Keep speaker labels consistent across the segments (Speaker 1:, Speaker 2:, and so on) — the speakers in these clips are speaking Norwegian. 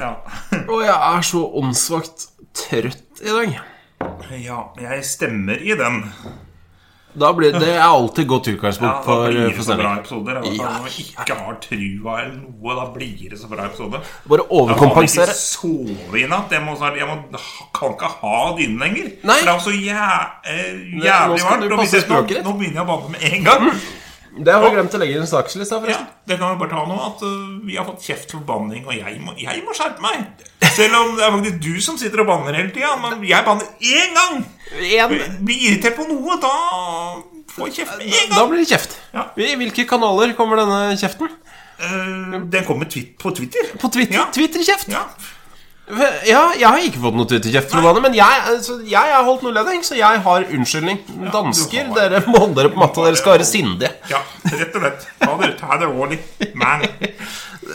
Speaker 1: Ja.
Speaker 2: Og jeg er så åndssvakt trøtt i dag.
Speaker 1: ja, jeg stemmer i den.
Speaker 2: Da blir det er alltid godt utgangspunkt
Speaker 1: Ja, da
Speaker 2: for,
Speaker 1: blir det
Speaker 2: for
Speaker 1: så bra
Speaker 2: sending.
Speaker 1: episoder. Jeg,
Speaker 2: Ja.
Speaker 1: Når man ikke har trua eller noe, da blir det så bra episode.
Speaker 2: Bare
Speaker 1: Jeg kan ikke
Speaker 2: overkompensere.
Speaker 1: sove i natt. Jeg, må, snart- jeg må, kan ikke ha dyne lenger.
Speaker 2: Nei.
Speaker 1: For det er så jæ, eh,
Speaker 2: nå
Speaker 1: jævlig
Speaker 2: skal
Speaker 1: varmt.
Speaker 2: du
Speaker 1: Nå
Speaker 2: passe
Speaker 1: begynner-
Speaker 2: språket ditt. Mm.
Speaker 1: Nå, nå begynner jeg å banne med en gang.
Speaker 2: Det har vi glemt å legge i en saksliste,
Speaker 1: Ja,
Speaker 2: forresten.
Speaker 1: det kan vi bare ta nå, at øh, vi har fått kjeft for banning, og jeg må, jeg må skjerpe meg. Selv om det er faktisk du som sitter og banner hele tida, men jeg banner én gang!
Speaker 2: En,
Speaker 1: Blir irritert på noe, da får jeg kjeft med en
Speaker 2: da
Speaker 1: gang.
Speaker 2: blir det kjeft.
Speaker 1: Ja.
Speaker 2: I hvilke kanaler kommer denne kjeften?
Speaker 1: Eh, den kommer twitt på Twitter.
Speaker 2: På Twitter.
Speaker 1: Ja.
Speaker 2: Twitter-kjeft.
Speaker 1: Ja.
Speaker 2: Ja, jeg har ikke fått noe Twitter-kjeft, for å være det, men jeg, altså, jeg har holdt nullledning, så jeg har unnskyldning. Dansker,
Speaker 1: har-
Speaker 2: dere må holde dere på matta. Dere skal være sindige.
Speaker 1: ja, rett og slett. Ta det, ta det rolig. Man.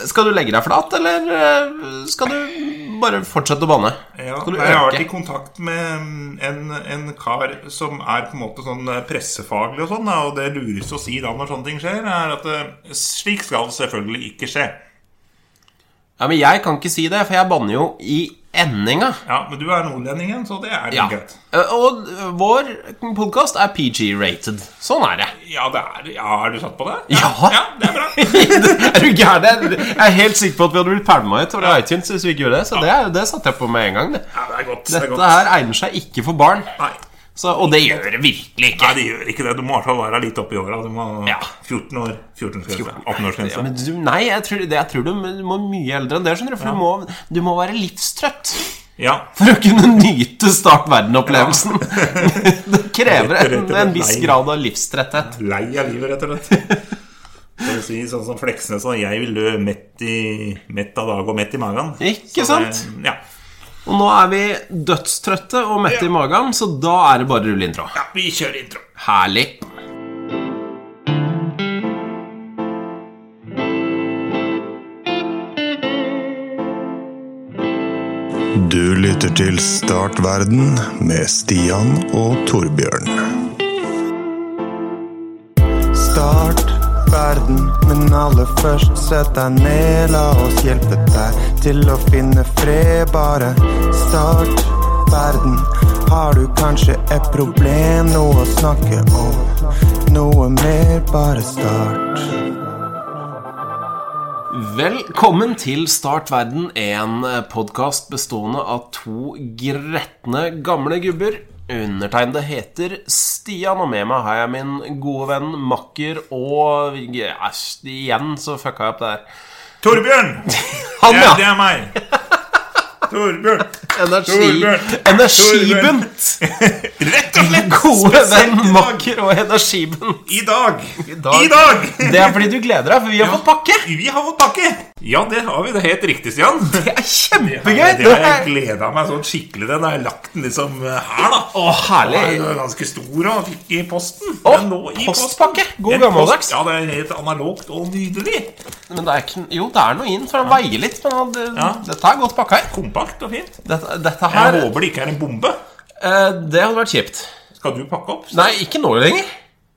Speaker 2: Skal du legge deg flat, eller eh, skal du bare fortsette å banne?
Speaker 1: Ja,
Speaker 2: skal du
Speaker 1: nei, jeg har vært i
Speaker 2: øke?
Speaker 1: kontakt med mm, en, en kar som er på en måte sånn eh, pressefaglig og sånn, da, og det lureste å si da når sånne ting skjer, er at eh, slik skal det selvfølgelig ikke skje.
Speaker 2: Ja, men jeg kan ikke si det, for jeg banner jo i endinga.
Speaker 1: Ja, men du er nordlendingen, så det er
Speaker 2: Ja.
Speaker 1: greit.
Speaker 2: Eh, Og vår podkast er PG-rated. Sånn er det.
Speaker 1: Ja, det er Ja, er du satt på det?
Speaker 2: Ja.
Speaker 1: ja det er bra.
Speaker 2: er du gæren? Jeg jeg er helt sikker på at vi hadde blitt pælma ut over iTunes hvis vi ikke gjorde det. Så det, er- det satte jeg på med en gang. Det.
Speaker 1: Ja, det er godt. det er
Speaker 2: Dette
Speaker 1: godt.
Speaker 2: her egner seg ikke for barn.
Speaker 1: Nei.
Speaker 2: Så, og det gjør det virkelig
Speaker 1: Nei,
Speaker 2: ikke.
Speaker 1: det gjør ikke det. Du må i hvert fall være litt oppi åra. Du må
Speaker 2: Ja.
Speaker 1: 14 år. 14-årsgrense.
Speaker 2: Ja,
Speaker 1: 18-årsgrense.
Speaker 2: men du, nei, jeg tror, det, jeg tror du må mye eldre enn det, skjønner du. For du, må, du må være livstrøtt
Speaker 1: Ja.
Speaker 2: for å kunne nyte Start verden-opplevelsen. det krever
Speaker 1: Rett- rett og
Speaker 2: en,
Speaker 1: slett
Speaker 2: en viss
Speaker 1: nei.
Speaker 2: grad av livstretthet.
Speaker 1: Lei av livet, rett og slett. Skal du si sånn som Fleksnes og jeg vil dø mett, i, mett av dag og mett i magen.
Speaker 2: Ikke
Speaker 1: Så det-
Speaker 2: sant?
Speaker 1: Ja.
Speaker 2: Og nå er vi dødstrøtte og mette i magen, så da er det bare å rulle intro.
Speaker 1: ja. Vi kjører intro.
Speaker 2: Herlig.
Speaker 3: Du lytter til Startverden med Stian og Torbjørn.
Speaker 4: Start verden, men aller først sett deg ned. La oss hjelpe deg til å finne fred. Bare start verden. Har du kanskje et problem, noe å snakke om? Noe mer, bare start.
Speaker 2: Velkommen til Start verden, en podkast bestående av to gretne gamle gubber. Undertegnede heter Stian, og med meg har jeg min gode venn, makker og Æsj, igjen så fucka jeg opp det her.
Speaker 1: Torbjørn!
Speaker 2: Han,
Speaker 1: Ja, det
Speaker 2: ja!
Speaker 1: er meg. Torbjørn.
Speaker 2: Energi,
Speaker 1: Torbjørn.
Speaker 2: energibunt!
Speaker 1: Rett og slett.
Speaker 2: Gode
Speaker 1: spesielt
Speaker 2: venn,
Speaker 1: i dag.
Speaker 2: makker og energibunt.
Speaker 1: I dag.
Speaker 2: dag.
Speaker 1: I dag.
Speaker 2: Det er fordi du gleder deg, for vi har fått pakke!
Speaker 1: Vi har fått pakke! Ja, det har vi. Det er helt riktig, Stian.
Speaker 2: Det er
Speaker 1: Ja,
Speaker 2: kjempegøy!
Speaker 1: det har jeg gleda meg sånn skikkelig til. Da har jeg lagt den liksom eh, her, da.
Speaker 2: Å, herlig.
Speaker 1: Den var jo ganske stor og fikk i posten.
Speaker 2: Å,
Speaker 1: Men nå i
Speaker 2: postpakke.
Speaker 1: posten.
Speaker 2: God
Speaker 1: En post-
Speaker 2: gammeldags.
Speaker 1: Ja, det er helt analogt og nydelig.
Speaker 2: Men det er ikke, jo, det er noe inn, for han veier litt. Men han, det,
Speaker 1: Ja.
Speaker 2: dette er godt pakka her.
Speaker 1: Kompakt og fint.
Speaker 2: Dette, dette
Speaker 1: Jeg
Speaker 2: her eh,
Speaker 1: håper det ikke er en bombe.
Speaker 2: Det hadde vært kjipt.
Speaker 1: Skal du pakke opp?
Speaker 2: Nei, ikke nå lenger.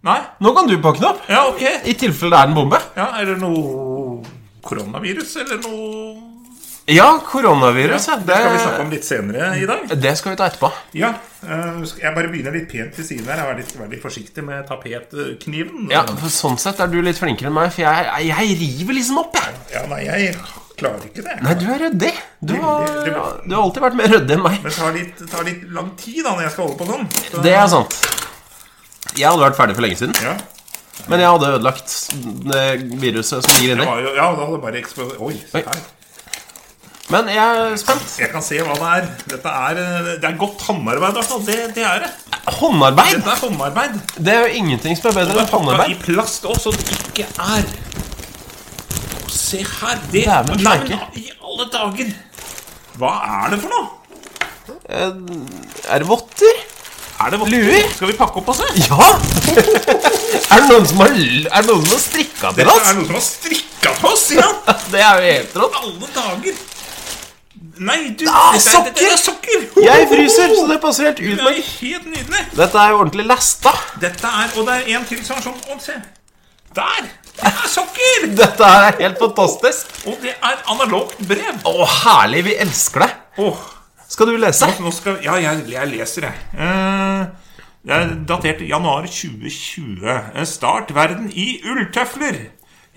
Speaker 1: Nei?
Speaker 2: Nå kan du pakke den opp.
Speaker 1: Ja, ok.
Speaker 2: I tilfelle det er en bombe.
Speaker 1: Ja, Er det noe koronavirus, eller noe
Speaker 2: Ja, koronavirus. Ja,
Speaker 1: Det skal vi snakke om litt senere i dag.
Speaker 2: det skal vi ta etterpå.
Speaker 1: Ja, eh, skal- Jeg bare begynner litt pent til siden her. Jeg er litt, veldig forsiktig med tapetkniven.
Speaker 2: Ja, for Sånn sett er du litt flinkere enn meg, for jeg, jeg river liksom opp, jeg.
Speaker 1: Ja, nei, jeg klarer ikke det.
Speaker 2: Nei, du er ryddig. Du har,
Speaker 1: Det- det-
Speaker 2: du har alltid vært mer ryddig enn meg.
Speaker 1: Det tar litt, det tar litt lang tid da når jeg skal holde på sånn. Så,
Speaker 2: Det er sant. Jeg hadde vært ferdig for lenge siden,
Speaker 1: ja.
Speaker 2: men jeg hadde ødelagt det viruset som
Speaker 1: Det
Speaker 2: ligger inni.
Speaker 1: var jo, ja, da hadde det bare eksplodert. Oi, se
Speaker 2: Oi.
Speaker 1: her.
Speaker 2: Men jeg er spent.
Speaker 1: Jeg kan se hva det er. Dette er, eh, det er godt håndarbeid, altså. Det, det er det.
Speaker 2: Håndarbeid!
Speaker 1: Dette er håndarbeid.
Speaker 2: Det er jo ingenting som er bedre
Speaker 1: Det
Speaker 2: enn
Speaker 1: er pakka
Speaker 2: pannebein.
Speaker 1: i plast også, det ikke er. Å, Se her, det Nei,
Speaker 2: Dæven
Speaker 1: men
Speaker 2: steike.
Speaker 1: I alle dager! Hva er det for noe?
Speaker 2: Er det votter?
Speaker 1: Er det votter?
Speaker 2: Luer?
Speaker 1: Skal vi pakke opp og se?
Speaker 2: Ja! er det noen som har, l- er det noen som har strikka til
Speaker 1: Dette
Speaker 2: oss?
Speaker 1: er noe som har strikka på oss, ja!
Speaker 2: Det er jo helt rått.
Speaker 1: alle dager! Nei, du
Speaker 2: Ah,
Speaker 1: dette er- dette er sokker!
Speaker 2: Jeg fryser, så det passer helt
Speaker 1: Det er
Speaker 2: utmerket.
Speaker 1: helt nydelig.
Speaker 2: Dette er jo ordentlig lasta.
Speaker 1: Dette er, Og det er en til som er sånn. Å, se! Der! Det er sokker!
Speaker 2: Dette her er helt fantastisk.
Speaker 1: Og det er analogt brev.
Speaker 2: Å, herlig. Vi elsker det.
Speaker 1: Åh,
Speaker 2: Skal du lese?
Speaker 1: nå skal, ja, jeg, jeg leser, jeg. Eh, det er datert januar 2020. Eh, Start verden i ulltøfler!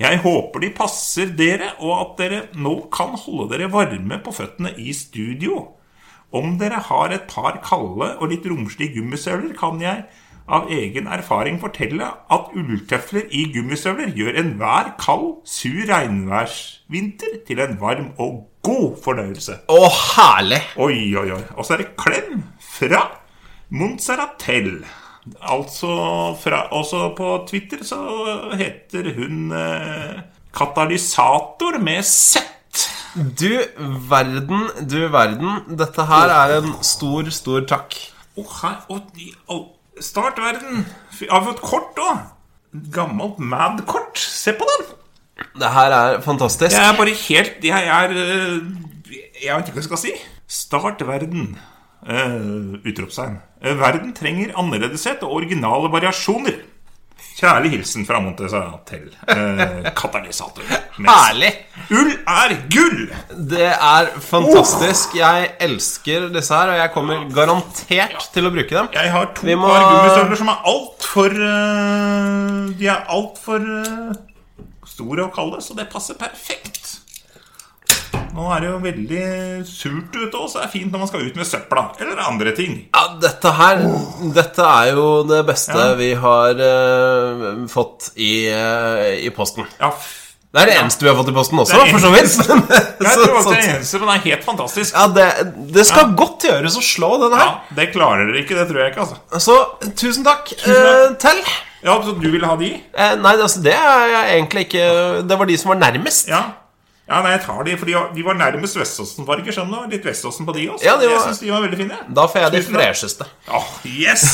Speaker 1: Jeg håper de passer dere, og at dere nå kan holde dere varme på føttene i studio. Om dere har et par kalde og litt romslige gummisøvler, kan jeg av egen erfaring fortelle at ulltøfler i gummisøvler gjør enhver kald, sur regnværsvinter til en varm og god fornøyelse.
Speaker 2: Å, herlig.
Speaker 1: Oi, oi, oi. Og så er det klem fra Montserratel. Altså fra Også på Twitter så heter hun eh, Katalysator med Z.
Speaker 2: Du verden, du verden. Dette her er en stor, stor takk.
Speaker 1: Og her og de, all- Start verden! Fy, Har vi fått kort òg? Gammelt Mad-kort. Se på den!
Speaker 2: Det her er fantastisk.
Speaker 1: Jeg er bare helt Jeg er eh, Jeg vet ikke hva jeg skal si. Start verden. Eh, utropstegn. Eh, verden trenger annerledeshet og originale variasjoner. Kjærlig hilsen fra Montesaratel. Uh, katalysator. Mens
Speaker 2: Herlig.
Speaker 1: Ull er gull!
Speaker 2: Det er fantastisk. Jeg elsker disse her, og jeg kommer garantert til å bruke dem.
Speaker 1: Jeg har to
Speaker 2: Vi må-
Speaker 1: par gummistøvler som er altfor uh, De er altfor uh, store og kalde, så det passer perfekt. Nå er det jo veldig surt ute òg, så det er fint når man skal ut med søpla eller andre ting.
Speaker 2: Ja, dette her Dette er jo det beste vi har eh, fått i, eh, i posten.
Speaker 1: Ja, f-
Speaker 2: Det er det eneste vi har fått i posten også,
Speaker 1: Det er
Speaker 2: for så vidt. Men,
Speaker 1: jeg
Speaker 2: så,
Speaker 1: tror ikke det er
Speaker 2: sånn-
Speaker 1: det eneste, men det er helt fantastisk.
Speaker 2: ja, det, det skal godt gjøres å slå den
Speaker 1: Ja,
Speaker 2: her.
Speaker 1: Det klarer dere ikke, det tror jeg ikke. altså
Speaker 2: Så tusen takk,
Speaker 1: takk.
Speaker 2: eh, til.
Speaker 1: Ja, Så du ville ha de?
Speaker 2: Eh, nei, altså, det er jeg egentlig ikke Det var de som var nærmest.
Speaker 1: Ja. Ja, nei, jeg tar de, for de var, de var nærmest Veståsen-farger. skjønner du, Litt Veståsen på de også.
Speaker 2: Ja, de
Speaker 1: Jeg
Speaker 2: var-
Speaker 1: syns de var veldig fine.
Speaker 2: Da får jeg de
Speaker 1: Tusen takk.
Speaker 2: fresheste.
Speaker 1: Åh, yes!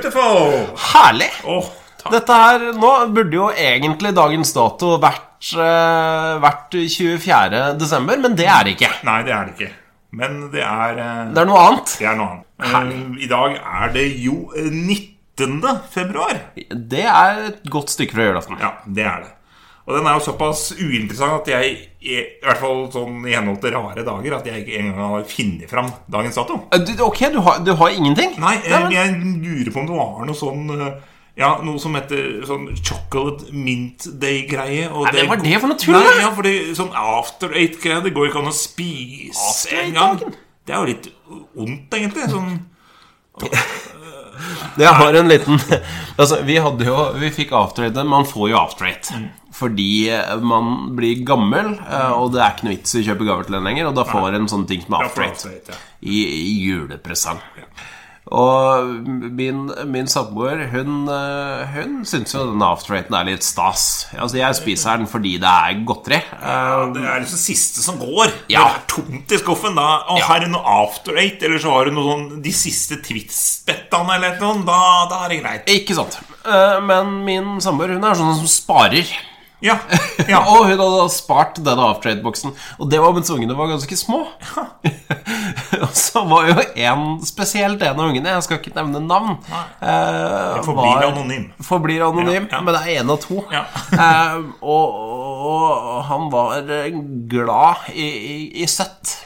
Speaker 1: Beautiful!
Speaker 2: Herlig!
Speaker 1: Åh, takk.
Speaker 2: Dette her nå burde jo egentlig dagens dato vært, eh, vært 24. desember, men det er det ikke.
Speaker 1: Nei, det er det ikke. Men det er eh,
Speaker 2: Det er noe annet.
Speaker 1: Det er noe annet. Eh, I dag er det jo eh, 19. februar.
Speaker 2: Det er et godt stykke fra julaften.
Speaker 1: Ja, det er det. Og den er jo såpass uinteressant at jeg, i hvert fall sånn i henhold til rare dager, at jeg ikke engang har funnet fram dagens dato.
Speaker 2: Eh, Du, ok, du har, du har ingenting?
Speaker 1: Nei, jeg,
Speaker 2: men-
Speaker 1: jeg lurer på om det var noe sånn eh, ja, Noe som heter sånn chocolate mint day-greie. og
Speaker 2: Nei, men hva er det for noe tull, da?
Speaker 1: Nei, ja, for det, sånn after eight-greie. Det går jo ikke an å spise
Speaker 2: After
Speaker 1: en gang.
Speaker 2: eight-dagen?
Speaker 1: Det er jo litt ondt, egentlig. Sånn,
Speaker 2: Jeg har en liten altså, Vi hadde jo Vi fikk afterrate. Man får jo afterrate.
Speaker 1: Mm.
Speaker 2: Fordi eh, man blir gammel, eh, og det er ikke noe vits i å kjøpe gaver til en lenger. Og da får en sånne ting som
Speaker 1: Ja, for
Speaker 2: afterrate
Speaker 1: after eight, ja.
Speaker 2: i, i julepresang. Og min, min samboer, hun, eh, hun syns jo denne afterraten er litt stas. Altså, jeg spiser den fordi det er godteri. eh,
Speaker 1: Det er liksom siste som går.
Speaker 2: Ja.
Speaker 1: Det er tomt i skuffen. Da Å,
Speaker 2: Ja.
Speaker 1: her er det noe after eight, eller så har du noe sånn de siste Twitz-spettene eller noe. Da, da er det greit.
Speaker 2: Ikke sant. Eh, Men min samboer, hun er sånn som sparer.
Speaker 1: Ja. ja.
Speaker 2: Og hun hadde da spart denne aftertrade-boksen. Og det var mens ungene var ganske små. og så var jo en, spesielt en av ungene, jeg skal ikke nevne navn eh,
Speaker 1: Jeg forblir anonym.
Speaker 2: Forblir anonym,
Speaker 1: Ja, ja.
Speaker 2: men det er én av to.
Speaker 1: Ja.
Speaker 2: eh, og, og han var eh, glad i, i, i søtt.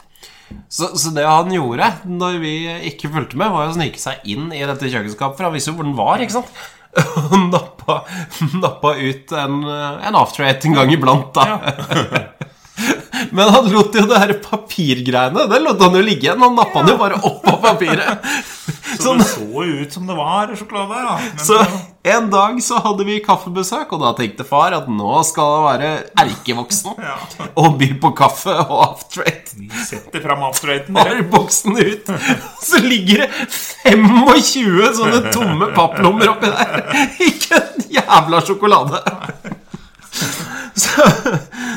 Speaker 2: Så, så det han gjorde når vi ikke fulgte med, var å snike seg inn i dette kjøkkenskapet, for han visste jo hvor den var, ikke sant? Og nappa, nappa ut en, eh, en afterate en gang iblant, da. Men han lot jo det her papirgreiene Det lot han jo ligge igjen. Han nappa den jo bare opp av papiret.
Speaker 1: Så det så jo ut som det var sjokolade der, da. Men
Speaker 2: Så
Speaker 1: det-
Speaker 2: en dag så hadde vi kaffebesøk, og da tenkte far at nå skal han være erkevoksen
Speaker 1: Ja.
Speaker 2: og by på kaffe og afterate.
Speaker 1: Setter fram after eighten. dere.
Speaker 2: tar boksen ut, så ligger det 25 sånne tomme papplommer oppi der. Ikke en jævla sjokolade. Så,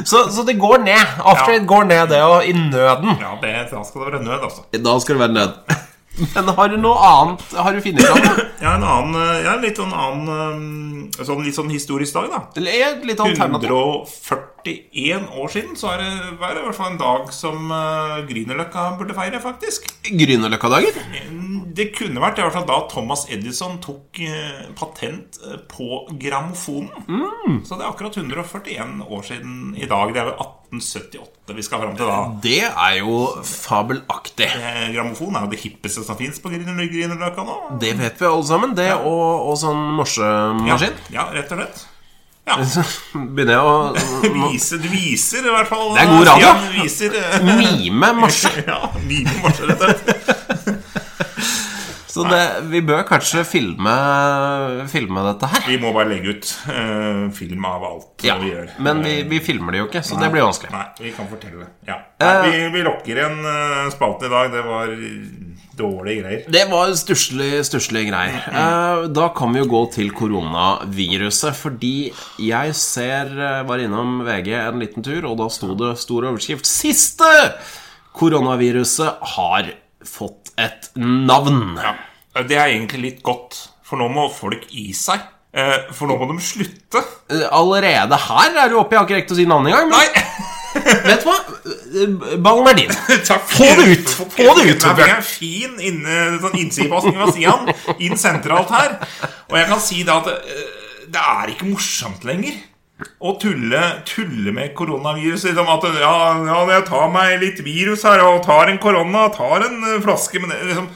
Speaker 2: så, så det går ned. After
Speaker 1: Ja.
Speaker 2: it går ned, det òg, i nøden.
Speaker 1: Ja, det, da skal det være nød, altså.
Speaker 2: Da skal det være nød. Men har du noe annet Har du funnet fram? noe?
Speaker 1: Jeg har en annen, eh, jeg har en litt sånn annen eh, sånn, Litt sånn historisk dag, da.
Speaker 2: Eller er det Litt alternativ?
Speaker 1: 141 år siden så er det, er det i hvert fall en dag som uh, Grünerløkka burde eh, feire, faktisk.
Speaker 2: Grünerløkkadagen?
Speaker 1: En det kunne vært i hvert fall da Thomas Edison tok eh, patent eh, på grammofonen.
Speaker 2: Mm.
Speaker 1: Så det er akkurat 141 år siden i dag. Det er jo 1878 vi skal fram til da.
Speaker 2: Det er jo fabelaktig.
Speaker 1: Eh, Grammofon er jo det hippeste som fins på Grüner- Grünerløkka nå.
Speaker 2: Det vet vi alle sammen. Det og, og sånn
Speaker 1: Ja,
Speaker 2: morsemaskin.
Speaker 1: ja, rett og slett.
Speaker 2: Begynner jeg å
Speaker 1: Viser, du viser i hvert fall
Speaker 2: Det er god radio.
Speaker 1: Ja, du viser eh,
Speaker 2: mime marsje.
Speaker 1: Ja, mine marsjer, rett og slett.
Speaker 2: Så det, vi bør kanskje filme, filme dette her.
Speaker 1: Vi må bare legge ut eh, film av alt
Speaker 2: Ja,
Speaker 1: vi gjør.
Speaker 2: men vi, vi filmer det jo ikke, så det blir vanskelig.
Speaker 1: Nei, vi kan fortelle. Ja. Nei, vi, vi lokker igjen eh, spalten i dag. Det var dårlige greier.
Speaker 2: Det var stusslige, stusslige greier. Eh, Da kan vi jo gå til koronaviruset, fordi jeg ser eh, var innom VG en liten tur, og da sto det stor overskrift 'Siste koronaviruset har fått et navn'.
Speaker 1: Det er egentlig litt godt, for nå må folk gi seg. Eh, for nå må de slutte.
Speaker 2: Eh, Allerede her er du oppe, jeg har ikke rekt å si navnet engang. Men
Speaker 1: Nei!
Speaker 2: vet du hva? Eh, Ballen er din.
Speaker 1: Takk.
Speaker 2: Få det ut! Få det ut,
Speaker 1: Nei, for
Speaker 2: Torbjørn.
Speaker 1: jeg er fin inne, sånn innsidepasning fra Sian, inn sentralt her. Og jeg kan si da at eh, det er ikke morsomt lenger å tulle, tulle med koronavirus. Liksom at ja, ja, jeg tar meg litt virus her, og tar en korona, tar en eh, flaske Men det, liksom,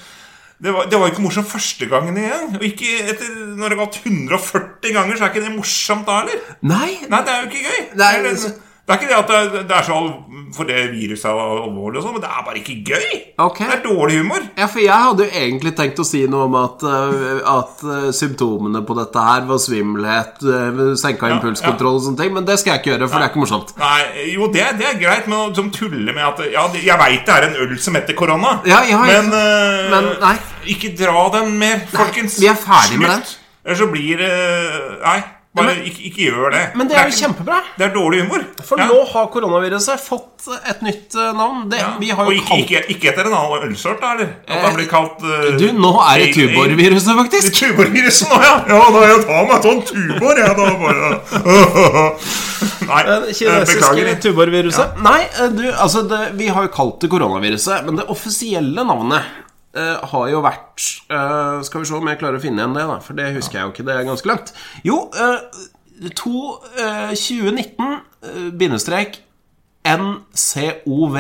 Speaker 1: det, var, det var ikke morsomt første gangen igjen. Og ikke etter, når det har gått 140 ganger, så er ikke det morsomt da heller.
Speaker 2: Nei,
Speaker 1: Nei, det er jo ikke gøy.
Speaker 2: Nei,
Speaker 1: det, er, det er ikke det at det, det er så al- for det viruset er alvorlig, og sånn, men det er bare ikke gøy.
Speaker 2: Ok.
Speaker 1: Det er dårlig humor.
Speaker 2: Ja, for jeg hadde jo egentlig tenkt å si noe om at, eh, at eh, symptomene på dette her var svimmelhet, eh, senka impulskontroll og sånne ting, men det skal jeg ikke gjøre, for det er ikke morsomt.
Speaker 1: Nei, jo, det, det er greit, men som tuller med at Ja, det- jeg veit det er en øl som heter korona,
Speaker 2: Ja, ja, ja.
Speaker 1: men, eh,
Speaker 2: Men, nei.
Speaker 1: ikke dra den mer, folkens.
Speaker 2: vi er ferdig med den.
Speaker 1: Ellers så blir det Nei, bare
Speaker 2: Ja, men-
Speaker 1: ikke, ikke gjør det.
Speaker 2: Men det er jo
Speaker 1: ikke-
Speaker 2: kjempebra.
Speaker 1: Det er dårlig humor.
Speaker 2: For
Speaker 1: Ja.
Speaker 2: nå har koronaviruset fått et nytt eh, navn. Det,
Speaker 1: Ja.
Speaker 2: vi har
Speaker 1: Og
Speaker 2: jo
Speaker 1: ikke,
Speaker 2: kalt
Speaker 1: ikke, ikke etter en annen ølsort, da, eller? At
Speaker 2: Eh,
Speaker 1: det blir kalt eh,
Speaker 2: Du, nå er
Speaker 1: Ale-
Speaker 2: det
Speaker 1: Ale-
Speaker 2: tuborgviruset, faktisk.
Speaker 1: Tuborgvirusen òg, ja! Ja, da jeg tar meg sånn tubor, jeg, da bare Nei,
Speaker 2: Det
Speaker 1: eh, beklager.
Speaker 2: kinesiske tuborgviruset. Nei, eh, du, altså, det, vi har jo kalt det koronaviruset, men det offisielle navnet eh, har jo vært eh, Skal vi se om jeg klarer å finne igjen det, da, for det husker jeg jo ikke, det er ganske langt. Jo, eh, to, eh, 2019, eh, bindestrek, NCOV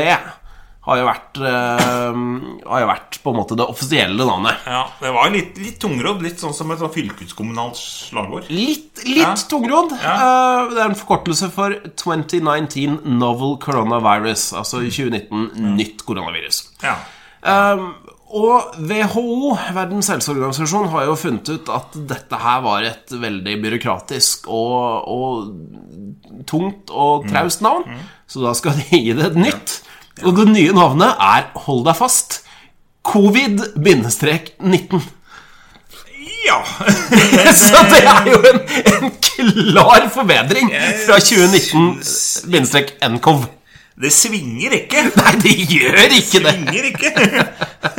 Speaker 2: har jo vært eh, Har jo vært på en måte det offisielle navnet.
Speaker 1: Ja, det var litt, litt tungrodd, litt sånn som et sånn fylkeskommunalt slagord.
Speaker 2: Litt, litt
Speaker 1: Ja.
Speaker 2: tungrodd.
Speaker 1: Ja.
Speaker 2: Eh, det er en forkortelse for 2019 Novel Coronavirus. Altså 2019 nytt koronavirus.
Speaker 1: Ja.
Speaker 2: Eh, og WHO, Verdens helseorganisasjon, har jo funnet ut at dette her var et veldig byråkratisk og, og tungt
Speaker 1: Mm.
Speaker 2: og traust navn, så da skal de gi det et nytt. Og det nye navnet er, hold deg fast, covid-19.
Speaker 1: ja.
Speaker 2: Så det er jo en, en klar forbedring fra 2019-NCOV.
Speaker 1: Det svinger ikke.
Speaker 2: Nei, det gjør ikke det!
Speaker 1: Svinger ikke.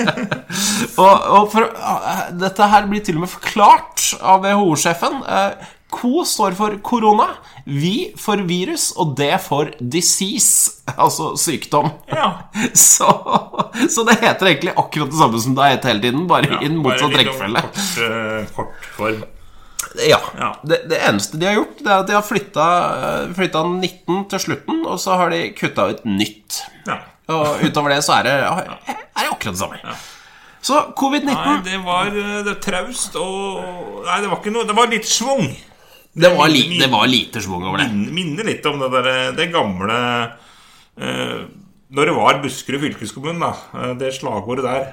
Speaker 2: Og, og for, eh, dette her blir til og med forklart av WHO-sjefen. Eh, CO står for korona, vi for virus, og D for disease, altså sykdom.
Speaker 1: Ja.
Speaker 2: Så, så det heter egentlig akkurat det samme som det har hett hele tiden, bare i den motsatt
Speaker 1: Bare litt
Speaker 2: rekkefølge.
Speaker 1: om Kort, eh, kort form.
Speaker 2: Ja.
Speaker 1: Ja.
Speaker 2: Det, det eneste de har gjort, det er at de har flytta, eh, flytta 19 til slutten, og så har de kutta ut nytt.
Speaker 1: Ja.
Speaker 2: Og utover det så er det, er det akkurat det samme. Så
Speaker 1: Nei,
Speaker 2: covid-19,
Speaker 1: det var eh, det var traust og Nei, det var ikke noe Det var litt schwung.
Speaker 2: det, var li,
Speaker 1: min-
Speaker 2: det var lite schwung over det.
Speaker 1: Minner, minner litt om det, der, det gamle eh, Når det var Buskerud fylkeskommune, da. eh, Det slagordet der.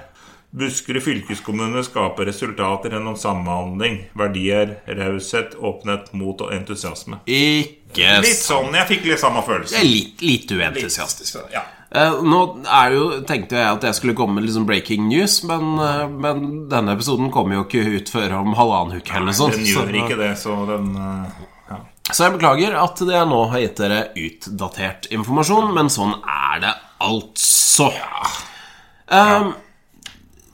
Speaker 1: Buskerud fylkeskommune skaper resultater gjennom samhandling, verdier, raushet, åpenhet, mot og entusiasme.
Speaker 2: Ikke
Speaker 1: Litt
Speaker 2: s-
Speaker 1: sånn, Jeg fikk litt samme
Speaker 2: det
Speaker 1: følelse.
Speaker 2: er litt, litt uentusiastisk.
Speaker 1: Ja.
Speaker 2: Eh, nå er det jo, tenkte jeg at jeg skulle komme med liksom breaking news, men, eh, men denne episoden kommer jo ikke ut før om halvannen uke eller noe sånt.
Speaker 1: Den
Speaker 2: sånn. så-
Speaker 1: gjør ikke det, så den eh, ja.
Speaker 2: Så jeg beklager at jeg nå har gitt dere utdatert informasjon, men sånn er det altså. Um,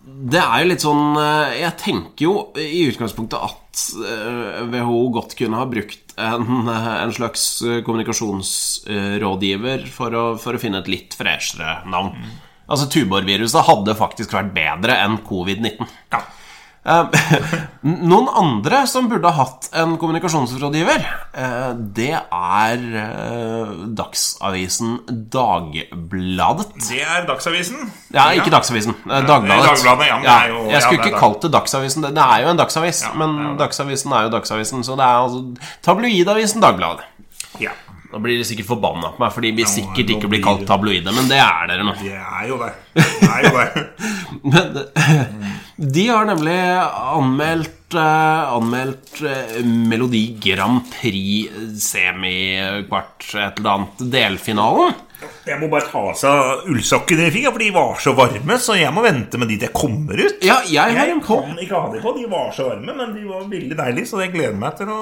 Speaker 2: det er jo litt sånn eh, Jeg tenker jo i utgangspunktet at eh, WHO godt kunne ha brukt en, eh, en slags eh, kommunikasjonsrådgiver for å, for å finne et litt freshere navn. Altså Tuborgviruset hadde faktisk vært bedre enn covid-19.
Speaker 1: Ja.
Speaker 2: Eh, Noen andre som burde ha hatt en kommunikasjonsrådgiver, eh, det er eh, Dagsavisen Dagbladet.
Speaker 1: Det er Dagsavisen.
Speaker 2: Ja, ikke Dagsavisen. eh, Dagbladet.
Speaker 1: Dagbladet, ja, men det er jo- ja,
Speaker 2: jeg skulle
Speaker 1: det er
Speaker 2: ikke
Speaker 1: Dag-
Speaker 2: kalt det Dagsavisen. Det det er jo en dagsavis, men
Speaker 1: det er det.
Speaker 2: Dagsavisen er jo Dagsavisen. Så det er altså tabloidavisen Dagbladet.
Speaker 1: Ja,
Speaker 2: Nå blir de sikkert forbanna på meg, for de vil sikkert
Speaker 1: nå
Speaker 2: ikke bli
Speaker 1: blir
Speaker 2: kalt
Speaker 1: det-
Speaker 2: tabloide, men det er dere nå.
Speaker 1: det er jo det. Det er jo det.
Speaker 2: Men de har nemlig anmeldt, eh, anmeldt eh, Melodi Grand Prix-semikvart, et eller annet, delfinalen.
Speaker 1: Jeg må bare ta av seg ullsokkene de fikk, ja, for de var så varme, så jeg må vente med de til jeg kommer ut.
Speaker 2: Ja, jeg har
Speaker 1: Jeg
Speaker 2: en kopp.
Speaker 1: kan ikke ha de på, de var så varme, men de var veldig deilige, så jeg gleder meg til å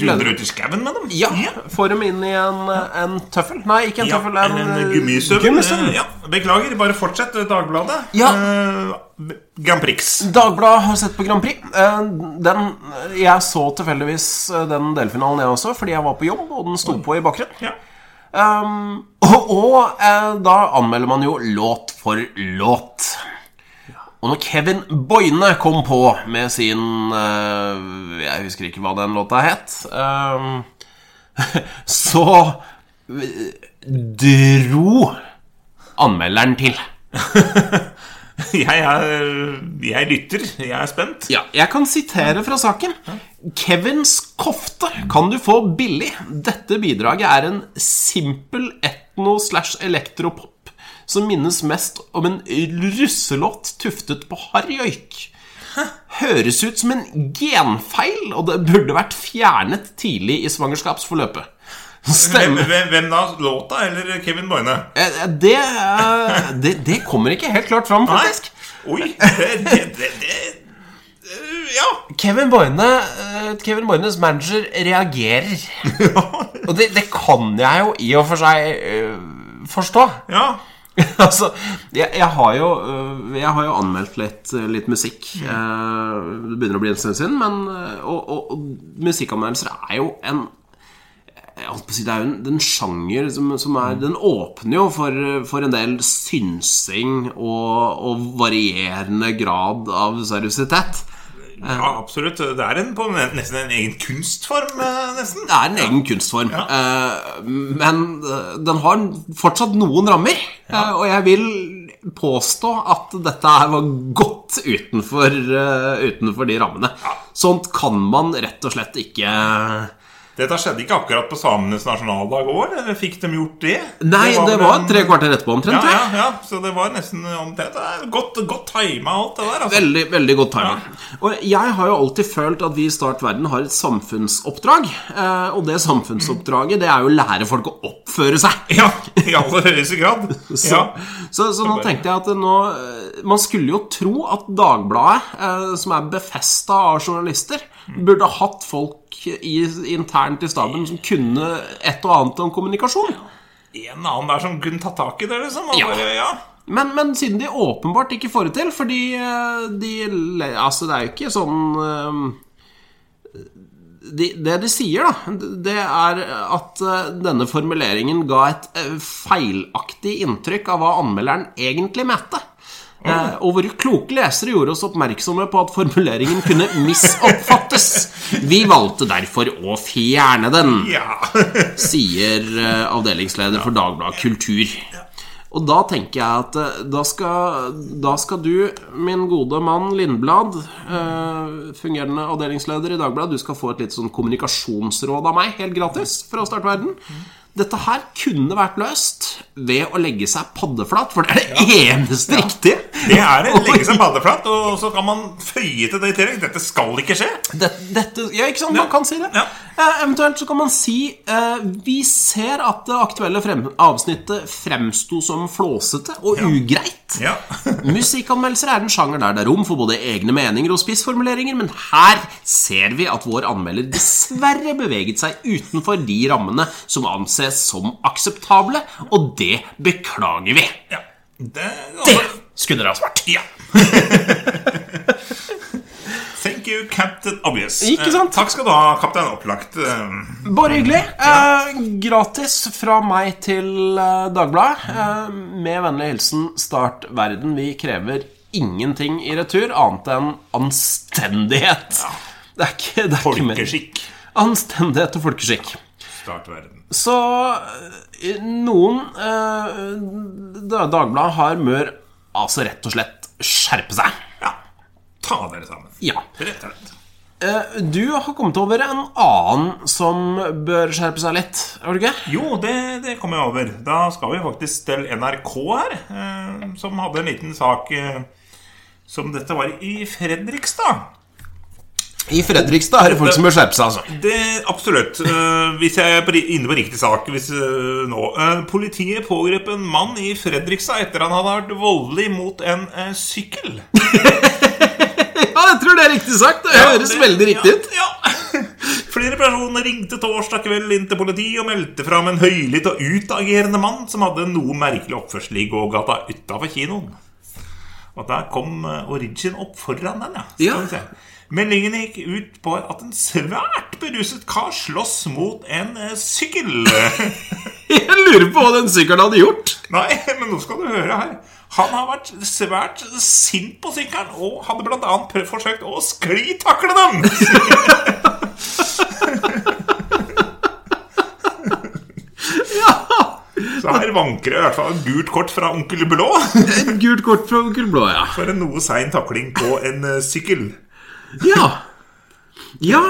Speaker 2: Gleder-
Speaker 1: dundre ut i skauen med dem.
Speaker 2: Ja, får dem inn i en, en tøffel. Nei, ikke en
Speaker 1: Ja,
Speaker 2: tøffel, en,
Speaker 1: en, en
Speaker 2: eh,
Speaker 1: gummisøvn.
Speaker 2: gummisøvn.
Speaker 1: Eh, Ja, beklager, bare fortsett, Dagbladet.
Speaker 2: Ja.
Speaker 1: Eh, Grand Prix.
Speaker 2: Dagbladet har sett på Grand Prix. Eh, Den, jeg så tilfeldigvis eh, den delfinalen, jeg også, fordi jeg var på jobb, og den sto på i bakgrunnen.
Speaker 1: Ja.
Speaker 2: Um, og og eh, da anmelder man jo låt for låt. Og når Kevin Boine kom på med sin eh, Jeg husker ikke hva den låta het. Um, så eh, dro anmelderen til.
Speaker 1: Jeg, er, jeg lytter, jeg er spent.
Speaker 2: Ja, jeg kan sitere fra saken. Kevins kofte kan du få billig. Dette bidraget er en simpel etno-slash-elektropop som minnes mest om en russelåt tuftet på harrjoik. Høres ut som en genfeil, og det burde vært fjernet tidlig i svangerskapsforløpet.
Speaker 1: Hvem,
Speaker 2: Stemmer.
Speaker 1: hvem, hvem da? Låta eller Kevin Boine?
Speaker 2: Eh, eh, Det, eh, det, det kommer ikke helt klart fram, faktisk.
Speaker 1: Oi, det, det, det, det eh, Ja.
Speaker 2: Kevin Boine, eh, Kevin Boines manager reagerer. og det, det kan jeg jo i og for seg eh, forstå.
Speaker 1: ja.
Speaker 2: altså, jeg, jeg, har jo, eh, jeg har jo anmeldt litt, eh, litt musikk. Eh, det begynner å bli en stund siden, men eh, og, og, og musikkanmeldelser er jo en jeg holdt på å si, Det er jo en, den sjanger som, som er Den åpner jo for, for en del synsing og, og varierende grad av seriøsitet.
Speaker 1: Ja, absolutt. Det er en, på nesten en egen kunstform, eh, nesten.
Speaker 2: Det er en egen kunstform, eh, men eh, den har fortsatt noen rammer. eh, og jeg vil påstå at dette her var godt utenfor, eh, utenfor de rammene. Sånt kan man rett og slett ikke
Speaker 1: Dette skjedde ikke akkurat på samenes nasjonaldag år. eller Fikk de gjort det?
Speaker 2: Nei, det
Speaker 1: vel
Speaker 2: var
Speaker 1: en-
Speaker 2: tre kvarter etterpå
Speaker 1: ja,
Speaker 2: omtrent.
Speaker 1: ja,
Speaker 2: tror jeg.
Speaker 1: ja, så det var nesten omtrent. Det er Godt, godt tima alt det der. Altså.
Speaker 2: Veldig, veldig godt timing. Og jeg har jo alltid følt at vi i Start Verden har et samfunnsoppdrag. eh, og det samfunnsoppdraget, det er jo å lære folk å oppføre seg.
Speaker 1: Ja, i aller høyeste grad.
Speaker 2: Så,
Speaker 1: Ja.
Speaker 2: så, så nå tenkte jeg at nå eh, Man skulle jo tro at Dagbladet, eh, som er befesta av journalister, burde hatt folk i, internt i staben som kunne et og annet om kommunikasjon.
Speaker 1: En annen der som kunne tatt tak i det, liksom. og
Speaker 2: Ja.
Speaker 1: Bare, ja.
Speaker 2: Men, men siden de åpenbart ikke får det til, fordi eh, de le- Altså, det er jo ikke sånn eh, de, Det de sier, da, det er at eh, denne formuleringen ga et eh, feilaktig inntrykk av hva anmelderen egentlig mente. Eh, Og våre kloke lesere gjorde oss oppmerksomme på at formuleringen kunne misoppfattes. Vi valgte derfor å fjerne den
Speaker 1: ja.
Speaker 2: sier eh, avdelingsleder for Dagbladet Kultur. Og da tenker jeg at eh, da skal, da skal du, min gode mann Lindblad, eh, fungerende avdelingsleder i Dagbladet, du skal få et litt sånn kommunikasjonsråd av meg, helt gratis, fra Start Verden. Dette her kunne vært løst ved å legge seg paddeflat, for det er det eneste riktige.
Speaker 1: Det er det. Legge seg paddeflat, og så kan man føye til det i tillegg. Dette skal ikke skje.
Speaker 2: Dette, dette Ja, ikke sant? Man kan si det.
Speaker 1: Ja.
Speaker 2: Eh, eventuelt så kan man si eh, Vi ser at det aktuelle frem avsnittet fremsto som flåsete og ugreit.
Speaker 1: Ja.
Speaker 2: Musikkanmeldelser er en sjanger der det er rom for både egne meninger og spissformuleringer, men her ser vi at vår anmelder dessverre beveget seg utenfor de rammene som anses som akseptable, og det beklager vi.
Speaker 1: ja. Det, Eh, altså,
Speaker 2: Det skulle dere ha svart.
Speaker 1: Ja. Thank you. you, Captain Obvious.
Speaker 2: Ikke sant?
Speaker 1: Eh, takk skal du ha, kaptein Opplagt. Eh,
Speaker 2: Bare hyggelig. Eh, gratis fra meg til eh, Dagbladet. Eh, med vennlig hilsen Start verden. Vi krever ingenting i retur annet enn anstendighet. Det er ikke, det er ikke mer.
Speaker 1: Folkeskikk.
Speaker 2: Anstendighet og folkeskikk.
Speaker 1: Start verden.
Speaker 2: Så eh, noen eh, Da- Dagbladet har mør altså rett og slett skjerpe seg.
Speaker 1: Ja. Ta dere sammen.
Speaker 2: Ja.
Speaker 1: Rett og slett.
Speaker 2: Eh, Du har kommet over en annen som bør skjerpe seg litt, har du ikke?
Speaker 1: Jo, det, det kom jeg over. Da skal vi faktisk til NRK her, eh, som hadde en liten sak eh, som dette var i Fredrikstad.
Speaker 2: I Fredrikstad er det folk som bør skjerpe seg, altså.
Speaker 1: Det, absolutt. Eh, hvis jeg er på ri- inne på riktig sak hvis, eh, nå. Eh, politiet pågrep en mann i Fredrikstad etter han hadde vært voldelig mot en eh, sykkel.
Speaker 2: Ja, jeg tror det er riktig sagt. Det høres
Speaker 1: det-
Speaker 2: veldig riktig ut.
Speaker 1: Ja, ja. Flere personer ringte torsdag kveld inn til politiet og meldte fram en høylytt og utagerende mann som hadde en noe merkelig oppførsel i gågata utafor kinoen. Og der kom eh, Origin opp foran den, ja. Skal
Speaker 2: Ja.
Speaker 1: vi se. Meldingen gikk ut på at en svært beruset kar slåss mot en eh, sykkel.
Speaker 2: Jeg lurer på hva den sykkelen hadde gjort.
Speaker 1: Nei, men nå skal du høre her. Han har vært svært sint på sykkelen og hadde bl.a. prøvd- forsøkt å sklitakle dem. Så her vanker det i hvert fall et gult kort fra onkel Blå
Speaker 2: Et gult kort fra onkel Blå, ja.
Speaker 1: for en noe sein takling på en eh, sykkel.
Speaker 2: Ja, ja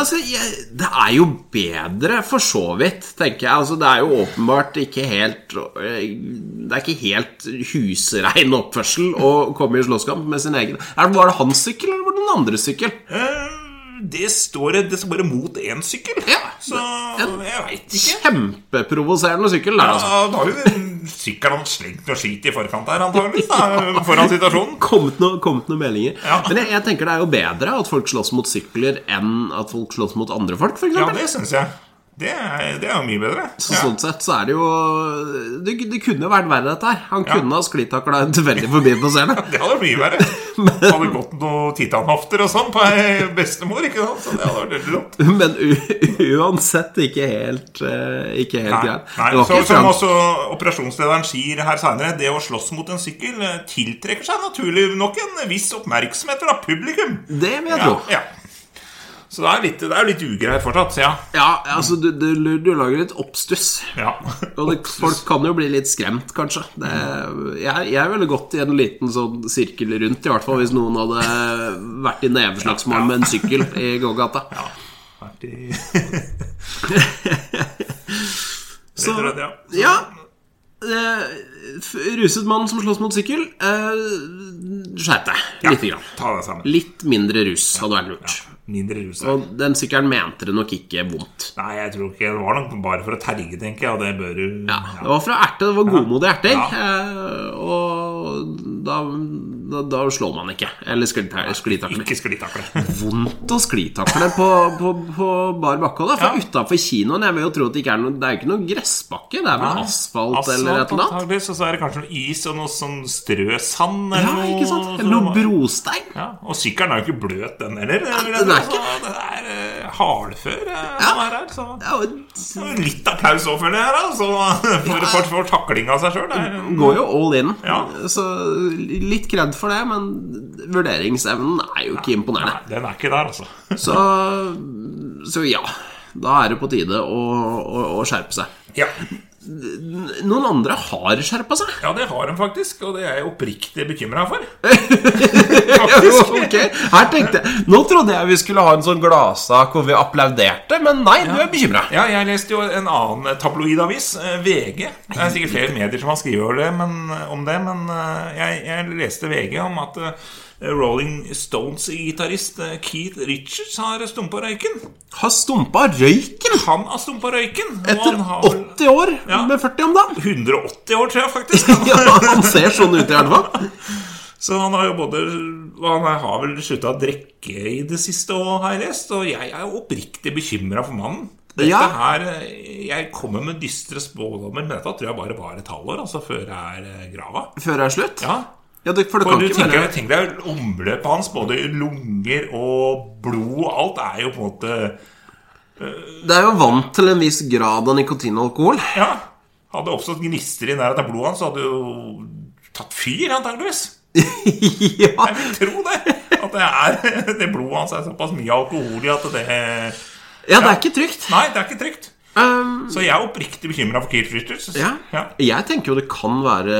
Speaker 2: altså jeg, Det er jo bedre, for så vidt, tenker jeg. Altså, det er jo åpenbart ikke helt eh, Det er ikke helt husrein oppførsel å komme i slåsskamp med sin egen Er det Var det hans sykkel, eller var det den andres sykkel?
Speaker 1: Eh, Det står det står bare mot én sykkel,
Speaker 2: Ja.
Speaker 1: så jeg veit ikke.
Speaker 2: Kjempeprovoserende sykkel, der, altså.
Speaker 1: Ja, da har jo sykkelen hans slengt noe skit i forkant her, antageligvis, da, foran situasjonen.
Speaker 2: Kommet noen, kommet noen meldinger.
Speaker 1: Ja.
Speaker 2: Men jeg, jeg tenker det er jo bedre at folk slåss mot sykler enn at folk slåss mot andre folk, f.eks.
Speaker 1: Ja,
Speaker 2: eksempel
Speaker 1: det syns jeg. Det er, det er jo mye bedre.
Speaker 2: Så
Speaker 1: Ja.
Speaker 2: Sånn sett så er det jo Det, det kunne jo vært verre, dette her. Han kunne ha sklitakla en tilfeldig forbipasserende.
Speaker 1: Det hadde vært mye verre. Det hadde gått noen titanhafter og sånn på ei bestemor. ikke sant? Så det hadde vært veldig dumt.
Speaker 2: Men u uansett ikke helt, eh, ikke helt
Speaker 1: Nei,
Speaker 2: greit.
Speaker 1: nei,
Speaker 2: Det var
Speaker 1: så,
Speaker 2: ikke
Speaker 1: som
Speaker 2: Frans-
Speaker 1: også operasjonslederen sier her seinere, det å slåss mot en sykkel eh, tiltrekker seg naturlig nok en viss oppmerksomhet fra publikum.
Speaker 2: Det vil jeg
Speaker 1: Ja,
Speaker 2: tro. Ja,
Speaker 1: ja. Så det er litt, det er litt ugreit fortsatt, ja.
Speaker 2: altså, du, du, du lager litt oppstuss.
Speaker 1: ja.
Speaker 2: Og det, folk kan jo bli litt skremt, kanskje. Det, jeg, jeg ville gått i en liten sånn sirkel rundt, i hvert fall hvis noen hadde vært i neveslagsmål med en sykkel i gågata.
Speaker 1: Så, ja.
Speaker 2: Ja eh, f- Ruset mann som slåss mot sykkel eh, Skjerp deg Litt grann
Speaker 1: Ta deg sammen.
Speaker 2: Litt mindre rus hadde vært lurt
Speaker 1: Mindre rus.
Speaker 2: Og den sykkelen mente det nok ikke vondt
Speaker 1: Nei, jeg tror ikke det var nok bare for å terge, tenker jeg, og det bør du
Speaker 2: ja, Det var fra erte, det var godmodig erter
Speaker 1: Ja.
Speaker 2: eh, Og da, da, da slår man ikke Eller sklitakler
Speaker 1: Ikke sklitakle.
Speaker 2: Vondt å sklitakle på, på, på bar bakke også, da, For utenfor kinoen, jeg vil jo tro at det ikke er noe Det er jo ikke noe gressbakke, det er vel
Speaker 1: Nei.
Speaker 2: asfalt, eller et eller annet
Speaker 1: antageligvis, Og så er det kanskje noe is og noe sånn strø sand eller
Speaker 2: Ja, ikke sant?
Speaker 1: så-
Speaker 2: Eller noe brostein
Speaker 1: Ja, Og sykkelen er jo ikke bløt, den heller. eller,
Speaker 2: den er
Speaker 1: altså, den er eh, hardfør, eh, den er her. Så.
Speaker 2: Ja, og
Speaker 1: Så Litt applaus òg, føler jeg, her, altså, for, for, for takling av seg sjøl.
Speaker 2: går jo all in.
Speaker 1: Ja.
Speaker 2: Så litt kred for det, men vurderingsevnen er jo ikke imponerende.
Speaker 1: Den er ikke der, altså.
Speaker 2: Så, så ja. Da er det på tide å, å, å skjerpe seg.
Speaker 1: Ja.
Speaker 2: Noen andre har skjerpa seg.
Speaker 1: ja, det har de faktisk, og det er jeg oppriktig bekymra for.
Speaker 2: Ok, her tenkte jeg Nå trodde jeg vi skulle ha en sånn gladsak hvor vi applauderte, men nei, du er bekymra.
Speaker 1: Ja, jeg leste jo en annen tabloidavis, eh, VG. Det er sikkert flere medier som har skrevet over det, men, om det, men eh, jeg, jeg leste VG om at eh, Rolling Stones-gitarist eh, Keith Richards har stumpa røyken.
Speaker 2: Har stumpa røyken
Speaker 1: Han har stumpa røyken! og
Speaker 2: etter
Speaker 1: han har vel
Speaker 2: 80 år
Speaker 1: Ja.
Speaker 2: med 40 om dagen.
Speaker 1: 180 år, tror jeg faktisk.
Speaker 2: Ja, han ser sånn ut, i hvert fall.
Speaker 1: Så han har jo både og Han har vel slutta å drikke i det siste òg, har jeg lest. Og jeg er jo oppriktig bekymra for mannen. Dette
Speaker 2: Ja.
Speaker 1: her, eh, Jeg kommer med dystre spådommer, men dette tror jeg bare var et halvår altså, før jeg er eh, grava.
Speaker 2: Før det er slutt.
Speaker 1: Ja,
Speaker 2: Ja, det, for det
Speaker 1: For
Speaker 2: kan
Speaker 1: du
Speaker 2: ikke
Speaker 1: tenker,
Speaker 2: være
Speaker 1: tenk deg omløpet hans, både lunger og blod Alt er jo på en måte
Speaker 2: Det er jo vant til en viss grad av nikotinalkohol.
Speaker 1: Ja, hadde det oppstått gnister i nærheten av blodet hans, så hadde det jo tatt fyr, antakeligvis.
Speaker 2: ja,
Speaker 1: Jeg vil tro det. At det, er, det blodet hans er såpass mye alkohol i at det
Speaker 2: ja, det er ikke trygt.
Speaker 1: Nei, det er ikke trygt.
Speaker 2: Um,
Speaker 1: Så jeg er oppriktig bekymra for Keith Richards.
Speaker 2: ja.
Speaker 1: Ja.
Speaker 2: Jeg tenker jo det kan være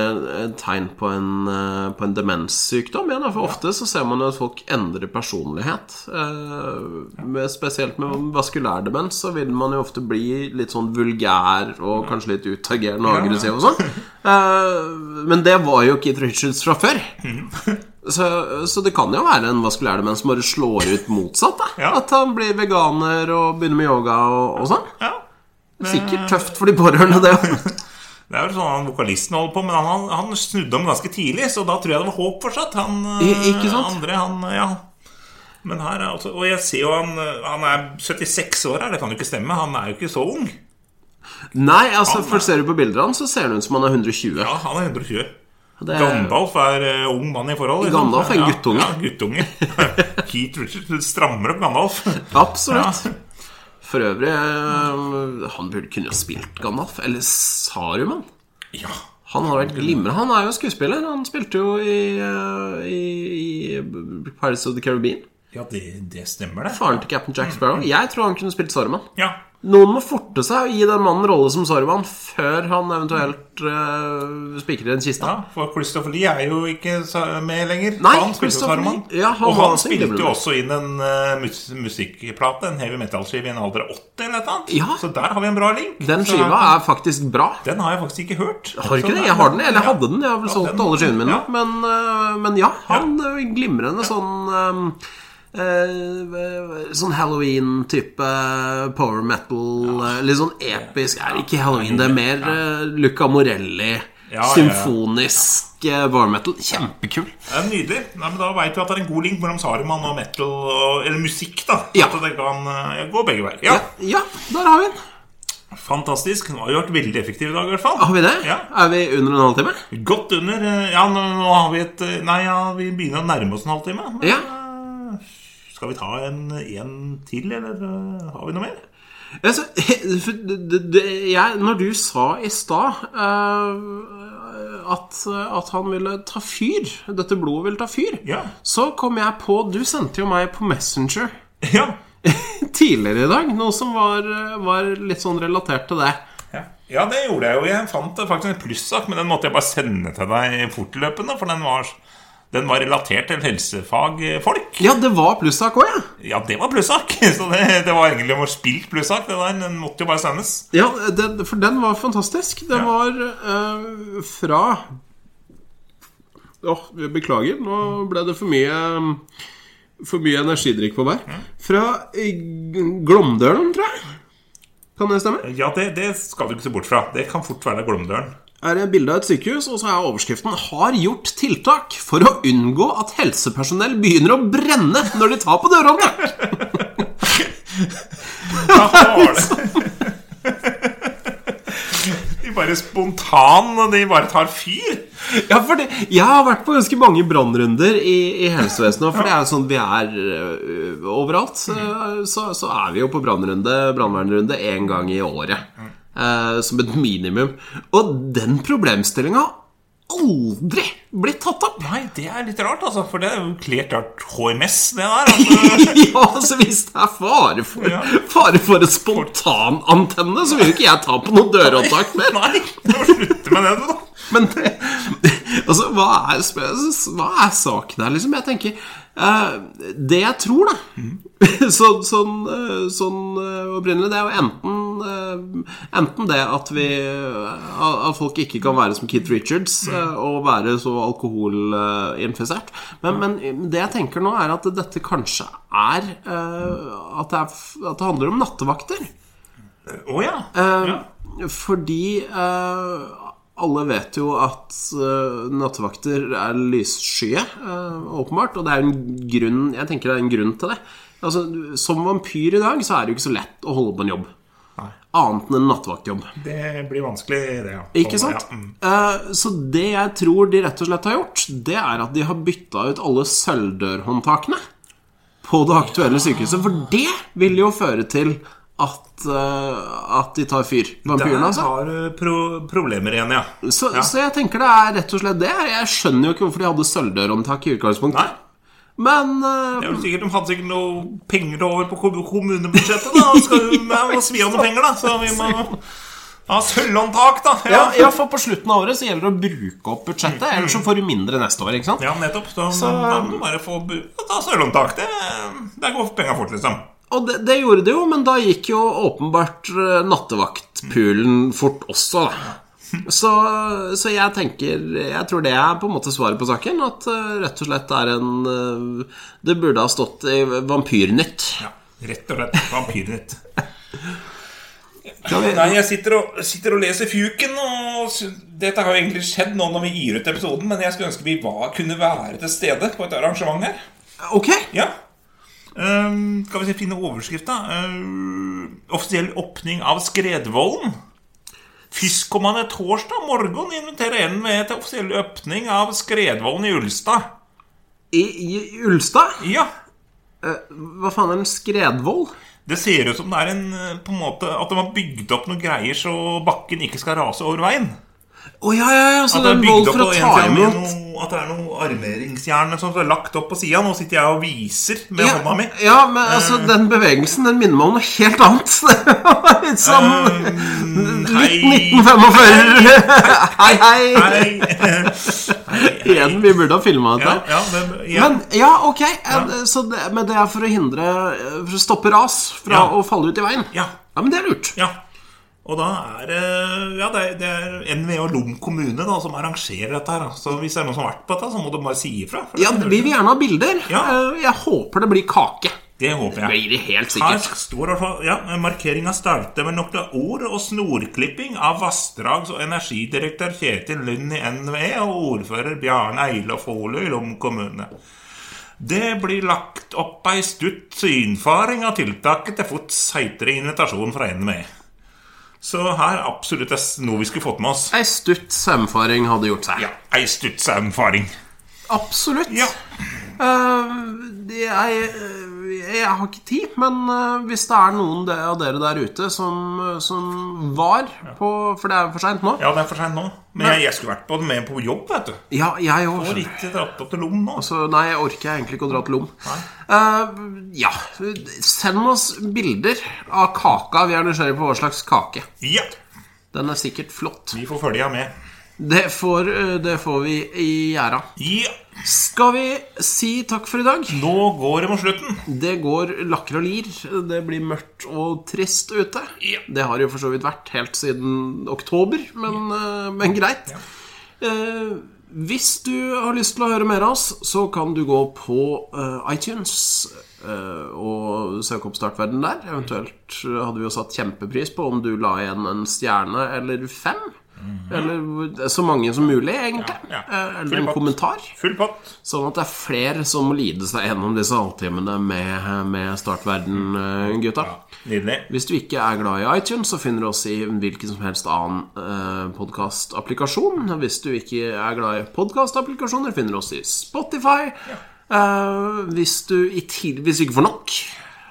Speaker 2: et tegn på en, eh, på en demenssykdom. igjen, da, for ofte så ser man jo at folk endrer personlighet. Eh, med, spesielt med vaskulær demens så vil man jo ofte bli litt sånn vulgær og kanskje litt utagerende og
Speaker 1: Ja, ja.
Speaker 2: aggressiv og sånn. Eh, men det var jo Keith Richards fra før.
Speaker 1: Mhm.
Speaker 2: Så, så det kan jo være en vaskulær demens som bare slår ut motsatt. Da.
Speaker 1: Ja.
Speaker 2: At han blir veganer og begynner med yoga og, og sånn.
Speaker 1: Ja.
Speaker 2: Sikkert tøft for de pårørende, det òg.
Speaker 1: Det er jo sånn han vokalisten holder på, men han, han, han snudde om ganske tidlig, så da tror jeg det var håp fortsatt. Han eh,
Speaker 2: I- ikke sant?
Speaker 1: andre, han Ja. Men her er altså Og jeg ser jo han eh, Han er 76 år her, det kan jo ikke stemme. Han er jo ikke så ung.
Speaker 2: Nei, altså, for ser du på bildene hans, så ser han ut som han er 120.
Speaker 1: Ja, han er 120.
Speaker 2: Det er-
Speaker 1: Gandalf er eh, ung mann i forhold. liksom.
Speaker 2: Gandalf er en guttunge.
Speaker 1: Ja, ja, guttunge. Keith Richards strammer opp Gandalf.
Speaker 2: Absolutt. For øvrig, eh, han burde kunne jo spilt Gandalf. Eller Saruman.
Speaker 1: Ja.
Speaker 2: Han har vært glimrende. Han er jo skuespiller. Han spilte jo i, eh, i, i Pirates of the Caribbean.
Speaker 1: Ja, det, det stemmer, det.
Speaker 2: Faren til Captain Jack
Speaker 1: Mm.
Speaker 2: Sparrow. Jeg tror han kunne spilt Saruman.
Speaker 1: Ja.
Speaker 2: Noen må forte seg å gi den mannen rolle som Saruman før han eventuelt eh, spikrer en kiste.
Speaker 1: ja, for Christopher Lee er jo ikke sa- med lenger.
Speaker 2: Nei,
Speaker 1: han spilte jo
Speaker 2: Christopher
Speaker 1: Saruman.
Speaker 2: Lee- ja, han
Speaker 1: og
Speaker 2: var
Speaker 1: han
Speaker 2: også
Speaker 1: spilte
Speaker 2: glimrende.
Speaker 1: jo også inn en eh, mus musikkplate, en heavy metal-skive, i en alder av 80 eller noe annet.
Speaker 2: Ja.
Speaker 1: Så der har vi en bra link.
Speaker 2: Den
Speaker 1: Så-
Speaker 2: skiva er faktisk bra.
Speaker 1: Den har jeg faktisk ikke hørt.
Speaker 2: Har du
Speaker 1: Så
Speaker 2: ikke det?
Speaker 1: der-
Speaker 2: Jeg har den. Eller jeg
Speaker 1: Sånn Ja.
Speaker 2: hadde den. Jeg har vel
Speaker 1: Ja,
Speaker 2: solgt
Speaker 1: den-
Speaker 2: alle skivene mine.
Speaker 1: ja.
Speaker 2: Men, øh, men ja, han øh, glimrende sånn øh, øh, Sånn Halloween-type eh, power metal. øh, Litt sånn episk Er ikke Halloween, det er mer øh, Luca Morelli.
Speaker 1: Ja, ja, ja.
Speaker 2: Symfonisk øh, power metal. Kjempekul.
Speaker 1: Det er nydelig. Nei, men da veit du at det er en god link mellom Saruman og metal, og, eller musikk, da.
Speaker 2: Ja.
Speaker 1: At det kan eh, gå begge veier.
Speaker 2: Ja,
Speaker 1: Ja,
Speaker 2: ja der har vi den.
Speaker 1: Fantastisk. Nå har vi vært veldig effektive i dag, i hvert fall.
Speaker 2: Har vi det?
Speaker 1: Ja.
Speaker 2: Er vi under en halvtime?
Speaker 1: Godt under eh, Ja, nå, nå har vi et eh, Nei, ja, vi begynner å nærme oss en halvtime. Men,
Speaker 2: Ja.
Speaker 1: eh, Skal vi ta en, en til, eller eh, har vi noe mer?
Speaker 2: Altså, for det- det- jeg, når du sa i stad eh, at, at han ville ta fyr, dette blodet ville ta fyr,
Speaker 1: Ja.
Speaker 2: så kom jeg på Du sendte jo meg på Messenger
Speaker 1: Ja.
Speaker 2: tidligere i dag noe som var, var litt sånn relatert til det.
Speaker 1: ja. Ja, det gjorde jeg jo. Jeg fant eh, faktisk en plussak, men den måtte jeg bare sende til deg fortløpende. For den var, den var relatert til helsefagfolk.
Speaker 2: Ja, det var plussak òg, ja.
Speaker 1: Ja, det var plussak! Så det, det var egentlig om å spilt plussak. Det der, den måtte jo bare sendes.
Speaker 2: ja den, for den var fantastisk. Den
Speaker 1: Ja.
Speaker 2: var eh, fra Åh, beklager, nå ble det for mye For mye energidrikk på meg. Fra eh, Glåmdølen, tror jeg. Kan det stemme?
Speaker 1: Ja, det, det skal du ikke se bort fra. Det kan fort være Glåmdølen.
Speaker 2: er det bilde av et sykehus, og så er overskriften 'Har gjort tiltak for å unngå at helsepersonell begynner å brenne når de tar på dørhåndtak'.
Speaker 1: Ja, det var det. De bare spontan De bare tar fyr.
Speaker 2: Ja, for det, jeg har vært på ganske mange brannrunder i, i helsevesenet, for det er jo sånn vi er ø, overalt. ø, Så, så er vi jo på brannrunde, brannvernrunde én gang i året. ø, som et minimum. Og den problemstillinga har aldri blitt tatt opp!
Speaker 1: Nei, det er litt rart, altså. For det er jo klart rart HMS, det der. Altså.
Speaker 2: Ja, altså Hvis det er fare for,
Speaker 1: Ja.
Speaker 2: fare for en spontanantenne, så vil jo ikke jeg ta på noen dørhåndtak mer.
Speaker 1: Nei, du må slutte med det, du, da.
Speaker 2: Men det, altså, hva er, sp- hva er saken her, liksom? Jeg tenker eh, Det jeg tror, da så, Sånn, eh, sånn eh, opprinnelig, det er jo enten eh, Enten det at vi eh, At folk ikke kan være som Keith Richards eh, og være så alkoholinfisert. Men, men det jeg tenker nå, er at dette kanskje er eh, At det, er, f- at det handler om nattevakter.
Speaker 1: Å ja.
Speaker 2: Eh,
Speaker 1: ja.
Speaker 2: Fordi eh, alle vet jo at eh, nattevakter er lysskye, eh, åpenbart. Og det er jo en grunn Jeg tenker det er en grunn til det. Altså, Som vampyr i dag så er det jo ikke så lett å holde på en jobb. annet enn en nattvaktjobb.
Speaker 1: Det blir vanskelig, det. Ja.
Speaker 2: Ikke sant?
Speaker 1: Ja, mm.
Speaker 2: Eh, Så det jeg tror de rett og slett har gjort, det er at de har bytta ut alle sølvdørhåndtakene på det aktuelle sykehuset. For det vil jo føre til at, eh, at de tar fyr.
Speaker 1: Der
Speaker 2: Vampyrene, altså.
Speaker 1: har du pro problemer igjen, ja.
Speaker 2: Så, så jeg tenker det er rett og slett det. Jeg skjønner jo ikke hvorfor de hadde sølvdørhåndtak i
Speaker 1: Nei.
Speaker 2: utgangspunktet. Men eh,
Speaker 1: Det er vel sikkert, De hadde sikkert noe penger over på kom- kommunebudsjettet. da Skal vi ja, må svi av noen penger, da. Så vi må ha sølvhåndtak, da.
Speaker 2: ja, ja, for på slutten av året så gjelder det å bruke opp budsjettet, ellers så får du mindre neste år. ikke sant?
Speaker 1: Mm, Ja, nettopp. Da, da må du bare få bu- ta sølvhåndtak. Det, der går penga fort, liksom.
Speaker 2: Og det, det gjorde det jo, men da gikk jo åpenbart eh, nattevaktpulen fort også. da. Så, så jeg tenker Jeg tror det er på en måte svaret på saken. At eh, rett og slett er en eh, Det burde ha stått i Vampyrnytt.
Speaker 1: Ja, Rett og slett vampyrnytt.
Speaker 2: Skal vi,
Speaker 1: Nei, jeg sitter og, sitter og leser Fjuken, og s- dette har jo egentlig skjedd nå når vi gir ut episoden, men jeg skulle ønske vi var, kunne være til stede på et arrangement her.
Speaker 2: ok!
Speaker 1: Ja. Ehm, skal vi se, finne overskrifta? Ehm, offisiell åpning av Skredvollen. Førstkommende torsdag morgen inviterer en med til offisiell åpning av Skredvollen i Ulstad.
Speaker 2: I, i Ulstad?
Speaker 1: Ja.
Speaker 2: Hva faen er en skredvoll?
Speaker 1: Det ser ut som det er en eh, på en måte At de har bygd opp noen greier så bakken ikke skal rase over veien.
Speaker 2: Å ja, ja, ja, så
Speaker 1: At det
Speaker 2: det er
Speaker 1: er
Speaker 2: en
Speaker 1: bygd
Speaker 2: voll
Speaker 1: opp
Speaker 2: for å
Speaker 1: på en
Speaker 2: ta
Speaker 1: side med
Speaker 2: imot
Speaker 1: noe, At det er noe armeringsjern som er lagt opp på sida. Nå sitter jeg og viser med
Speaker 2: ja,
Speaker 1: hånda mi. Eh.
Speaker 2: ja, men altså, den bevegelsen den minner meg om noe helt annet. Det var Litt sånn
Speaker 1: Eh, Mm, Hei.
Speaker 2: 1945. Hei, hei.
Speaker 1: Hei. Hei.
Speaker 2: Igjen, vi burde ha filma
Speaker 1: Ja,
Speaker 2: dette.
Speaker 1: ja, men, ja.
Speaker 2: Men ja, ok. eh, Så det, men det er for å hindre eh, For å stoppe ras fra
Speaker 1: Ja.
Speaker 2: å falle ut i veien?
Speaker 1: Ja.
Speaker 2: ja, men det er lurt.
Speaker 1: ja. Og da er det- ja, det, er- det er NVE og Lom kommune da, som arrangerer dette. her da. Så hvis det er noen som har vært på dette, så må du bare si ifra. for
Speaker 2: Ja,
Speaker 1: det-
Speaker 2: Vi vil gjerne ha bilder.
Speaker 1: Ja.
Speaker 2: Eh, Jeg håper det blir kake.
Speaker 1: Det håper
Speaker 2: Det
Speaker 1: jeg.
Speaker 2: blir det helt
Speaker 1: Her
Speaker 2: sikkert.
Speaker 1: står i hvert fall ja, Markeringa starter med noen ord og snorklipping av vassdrags- og energidirektør Kjetil Lund i NVE og ordfører Bjarne Eile Folø i Lom kommune. Det blir lagt opp ei stutt synfaring av tiltaket til fots heitere invitasjon fra NVE. Så her er absolutt noe vi skulle fått med oss.
Speaker 2: Ei stutt saumfaring hadde gjort seg.
Speaker 1: Ja, ei stutt saumfaring.
Speaker 2: Absolutt.
Speaker 1: Ja.
Speaker 2: Eh, det er, eh, jeg har ikke tid, men eh, hvis det er noen de- av dere der ute som, eh, som var på For det er jo for seint nå.
Speaker 1: ja, det er for seint nå. Men jeg, jeg skulle vært på, med på jobb, vet du.
Speaker 2: Ja, jeg
Speaker 1: Og
Speaker 2: òg.
Speaker 1: ikke dratt opp til Lom nå.
Speaker 2: Så nei, jeg orker egentlig ikke å dra til Lom. Eh, ja, send oss bilder av kaka. Vi er nysgjerrige på hva slags kake.
Speaker 1: Ja,
Speaker 2: Den er sikkert flott.
Speaker 1: vi får følge med.
Speaker 2: Det får, eh, det får vi i gjerda.
Speaker 1: Ja.
Speaker 2: Skal vi si takk for i dag?
Speaker 1: Nå går det mot slutten.
Speaker 2: Det går lakker og lir. Det blir mørkt og trist ute.
Speaker 1: Ja.
Speaker 2: Det har jo for så vidt vært helt siden oktober, men, eh, men greit. Eh, hvis du har lyst til å høre mer av oss, så kan du gå på eh, iTunes eh, og søke opp Startverden der. Eventuelt hadde vi jo satt kjempepris på om du la igjen en stjerne eller fem. Eller så mange som mulig, egentlig.
Speaker 1: Mhm. Ja, ja.
Speaker 2: Eh, Eller
Speaker 1: Full
Speaker 2: en
Speaker 1: pott.
Speaker 2: kommentar.
Speaker 1: Full pott.
Speaker 2: Sånn at det er flere som må lide seg gjennom disse halvtimene med, med Startverden-gutta.
Speaker 1: Nydelig.
Speaker 2: Hvis du ikke er glad i iTunes, så finner du oss i hvilken som helst annen eh, podkastapplikasjon. Hvis du ikke er glad i podkastapplikasjoner, finner du oss i Spotify. Eh, hvis, du i til, hvis du ikke får nok,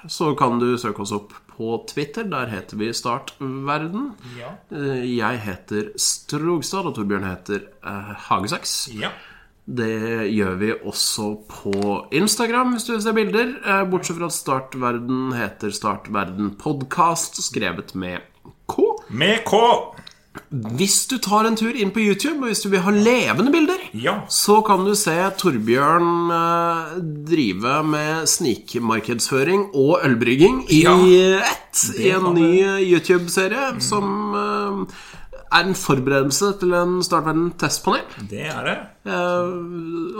Speaker 2: så kan du søke oss opp på Twitter. Der heter vi Startverden.
Speaker 1: Ja.
Speaker 2: Eh, jeg heter Strogstad, og Torbjørn heter eh, Hagesaks.
Speaker 1: Ja.
Speaker 2: Det gjør vi også på Instagram, hvis du vil se bilder. eh, Bortsett fra at Startverden heter Startverden podkast, skrevet med K.
Speaker 1: Med K.
Speaker 2: Hvis du tar en tur inn på YouTube, og hvis du vil ha levende bilder,
Speaker 1: Ja.
Speaker 2: så kan du se Torbjørn eh, drive med snikmarkedsføring og ølbrygging i ett i en
Speaker 1: kan
Speaker 2: ny YouTube-serie som eh, er en forberedelse til en Startverden-testpanel.
Speaker 1: Det er det.
Speaker 2: Eh,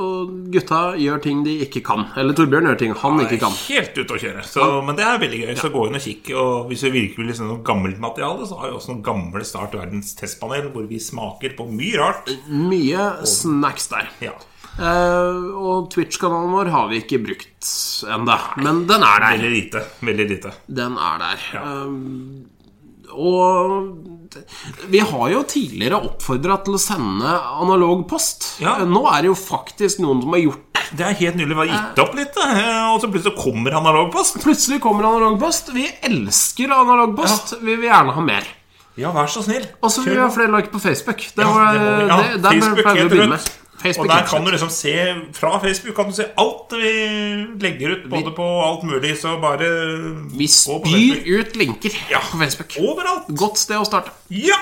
Speaker 2: og gutta gjør ting de ikke kan. Eller Torbjørn gjør ting han ikke kan.
Speaker 1: Helt ute å kjøre. Så, men det er veldig gøy. Så gå inn og kikk. Og hvis du virkelig vil se noe gammelt materiale, så har vi også noen gamle Start verdens testpanel hvor vi smaker på mye rart.
Speaker 2: Mye snacks der.
Speaker 1: Ja.
Speaker 2: Eh, og Twitch-kanalen vår har vi ikke brukt enda men den er der.
Speaker 1: Veldig lite. Veldig lite.
Speaker 2: Den er der. Eh, Og vi har jo tidligere oppfordra til å sende analog post. Eh,
Speaker 1: Ja.
Speaker 2: Nå er det jo faktisk noen som har gjort det.
Speaker 1: Det er helt nylig vi har gitt opp litt, da. og så plutselig kommer analogpost.
Speaker 2: Plutselig kommer analog post. Vi elsker analog post. Vi vil gjerne ha mer.
Speaker 1: Ja, vær så snill.
Speaker 2: Og så vil vi
Speaker 1: Kjør
Speaker 2: ha
Speaker 1: på.
Speaker 2: flere like på Facebook. Det
Speaker 1: Ja,
Speaker 2: var,
Speaker 1: det må vi.
Speaker 2: det
Speaker 1: Ja,
Speaker 2: der
Speaker 1: Facebook
Speaker 2: pleier vi
Speaker 1: helt
Speaker 2: å begynne
Speaker 1: rundt.
Speaker 2: med. Facebook
Speaker 1: Og der
Speaker 2: helt
Speaker 1: kan du
Speaker 2: rundt.
Speaker 1: liksom se Fra Facebook kan du se alt vi legger ut, både på alt mulig, så bare
Speaker 2: Vi
Speaker 1: gå på
Speaker 2: spyr
Speaker 1: Facebook.
Speaker 2: ut linker på Facebook.
Speaker 1: Overalt!
Speaker 2: Godt sted å starte.
Speaker 1: Ja!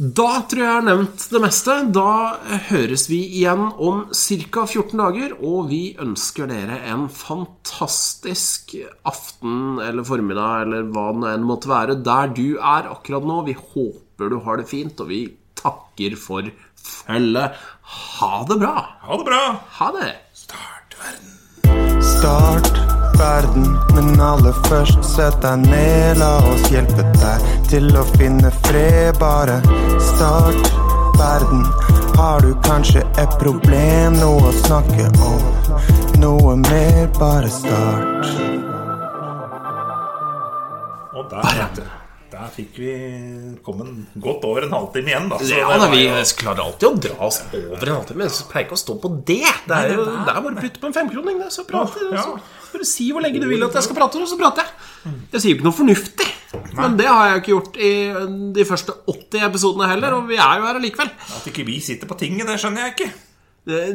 Speaker 2: Da tror jeg jeg har nevnt det meste. Da høres vi igjen om ca. 14 dager, og vi ønsker dere en fantastisk aften eller formiddag eller hva det nå enn måtte være der du er akkurat nå. Vi håper du har det fint, og vi takker for følget. Ha det bra!
Speaker 1: Ha det bra!
Speaker 2: Ha det!
Speaker 1: Start verden.
Speaker 4: Start verden, men aller først sett deg ned. La oss hjelpe deg til å finne fred, bare. Start verden. Har du kanskje et problem, noe å snakke om? Noe mer, bare start.
Speaker 1: Og der, vet du, der fikk vi kommet godt over en halvtime igjen, da. Så
Speaker 2: Ja,
Speaker 1: det
Speaker 2: da,
Speaker 1: var
Speaker 2: vi
Speaker 1: jo-
Speaker 2: klarer alltid å dra oss over en halvtime. Vi pleier ikke å stå på det. Det er, jo, det er bare å putte på en femkroning, det, så prater
Speaker 1: Ja. Mm.
Speaker 2: så Bare si hvor lenge du vil at jeg skal prate, og så prater jeg. Jeg sier jo ikke noe fornuftig. Men det har jeg ikke gjort i de første 80 episodene heller, og vi er jo her allikevel.
Speaker 1: At ikke vi sitter på tinget, det skjønner jeg ikke.
Speaker 2: Eh,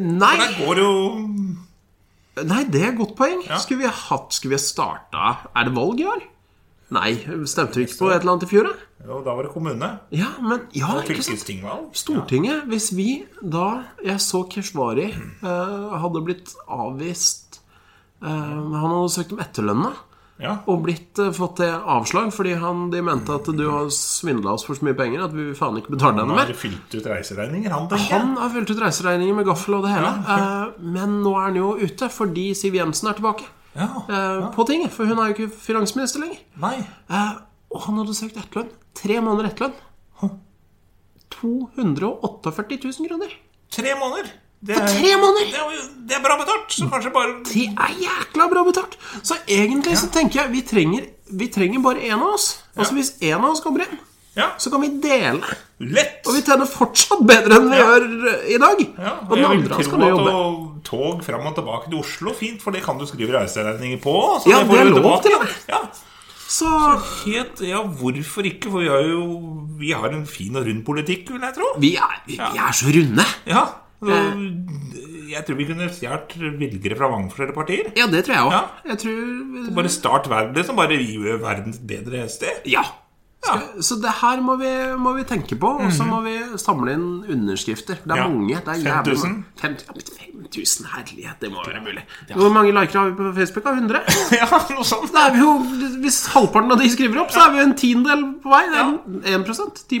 Speaker 1: Der
Speaker 2: Nei,
Speaker 1: går jo
Speaker 2: nei det er et godt poeng. Skulle vi ha hatt Skulle vi ha starta Er det valg i år? Nei, stemte vi ikke på et eller annet i fjor, da?
Speaker 1: Jo, da var det kommune.
Speaker 2: Ja, men Ja, ikke sant?
Speaker 1: Fylkestingvalg.
Speaker 2: Stortinget, hvis vi da jeg så Keshvari eh, hadde blitt avvist eh, Han hadde søkt om etterlønna
Speaker 1: Ja.
Speaker 2: og blitt, eh, fått det avslag fordi han, de mente at du har svindla oss for så mye penger at vi vil faen ikke betale deg
Speaker 1: Han
Speaker 2: noe
Speaker 1: har
Speaker 2: mer.
Speaker 1: fylt ut reiseregninger, han, tenker jeg.
Speaker 2: Han har fylt ut reiseregninger med gaffel og det hele, eh, men nå er han jo ute fordi Siv Jensen er tilbake eh,
Speaker 1: Ja.
Speaker 2: på tinget. For hun er jo ikke finansminister lenger.
Speaker 1: Nei.
Speaker 2: Eh, og han hadde søkt etterlønn. Tre måneder etterlønn. 248 000 kroner.
Speaker 1: Tre måneder. Det
Speaker 2: På tre måneder!
Speaker 1: Det er, jo- det er bra betalt, så kanskje bare
Speaker 2: De er jækla bra betalt! Så egentlig så tenker jeg vi trenger, vi trenger bare én av oss. Altså Hvis én av oss kommer hjem,
Speaker 1: Ja,
Speaker 2: så kan vi dele.
Speaker 1: lett!
Speaker 2: Og vi tjener fortsatt bedre enn vi
Speaker 1: Ja.
Speaker 2: gjør eh, i dag.
Speaker 1: Ja,
Speaker 2: og den
Speaker 1: jeg vil
Speaker 2: andre av oss kan
Speaker 1: tro at
Speaker 2: jo jobbe.
Speaker 1: å- tog fram og tilbake til Oslo, fint, for det kan du skrive reiseregninger på. så
Speaker 2: Ja,
Speaker 1: får
Speaker 2: det er
Speaker 1: du
Speaker 2: lov
Speaker 1: tilbake
Speaker 2: til
Speaker 1: igjen.
Speaker 2: det.
Speaker 1: Ja.
Speaker 2: Så
Speaker 1: Helt, ja, hvorfor ikke? For vi har jo vi har en fin og rund politikk, vil jeg tro.
Speaker 2: vi er, vi, vi er så runde.
Speaker 1: Ja, så Jeg tror vi kunne stjålet velgere fra mange forskjellige partier.
Speaker 2: Ja, det tror jeg òg.
Speaker 1: Ja.
Speaker 2: Jeg tror
Speaker 1: Bare start verden, liksom. Bare gjør verden til et bedre sted.
Speaker 2: Ja. Så det her må vi, må vi tenke på, og så må vi samle inn underskrifter. Det
Speaker 1: Mhm. Ja.
Speaker 2: er mange. det er jævlig
Speaker 1: 5000?
Speaker 2: mange. Fem- ja, men 5000, herlighet, det må være mulig. Hvor mange liker har vi på Facebook? da? 100?
Speaker 1: Ja, noe sånt.
Speaker 2: Da er vi jo, hvis halvparten av de skriver opp, så er vi jo en tiendedel på vei. Det er 1 10 Nei, ikke
Speaker 1: altså.
Speaker 2: 10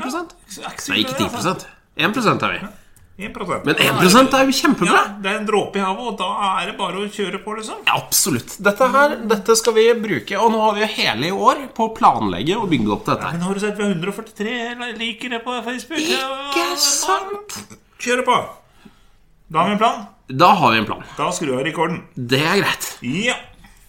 Speaker 2: 1 er vi.
Speaker 1: 1
Speaker 2: Men 1 er jo
Speaker 1: Ja,
Speaker 2: kjempebra.
Speaker 1: det er en dråpe i havet, og da er det bare å kjøre på, liksom.
Speaker 2: Ja, Absolutt. Dette her, dette skal vi bruke. Og nå har vi jo hele i år på å planlegge og bygge opp dette. her
Speaker 1: Men har du sett vi har 143 likere på Facebook?
Speaker 2: Ikke sant?
Speaker 1: Kjøre på. Da har vi en plan.
Speaker 2: Da har vi en plan.
Speaker 1: Da skrur jeg av rekorden.
Speaker 2: Det er greit.
Speaker 1: Ja.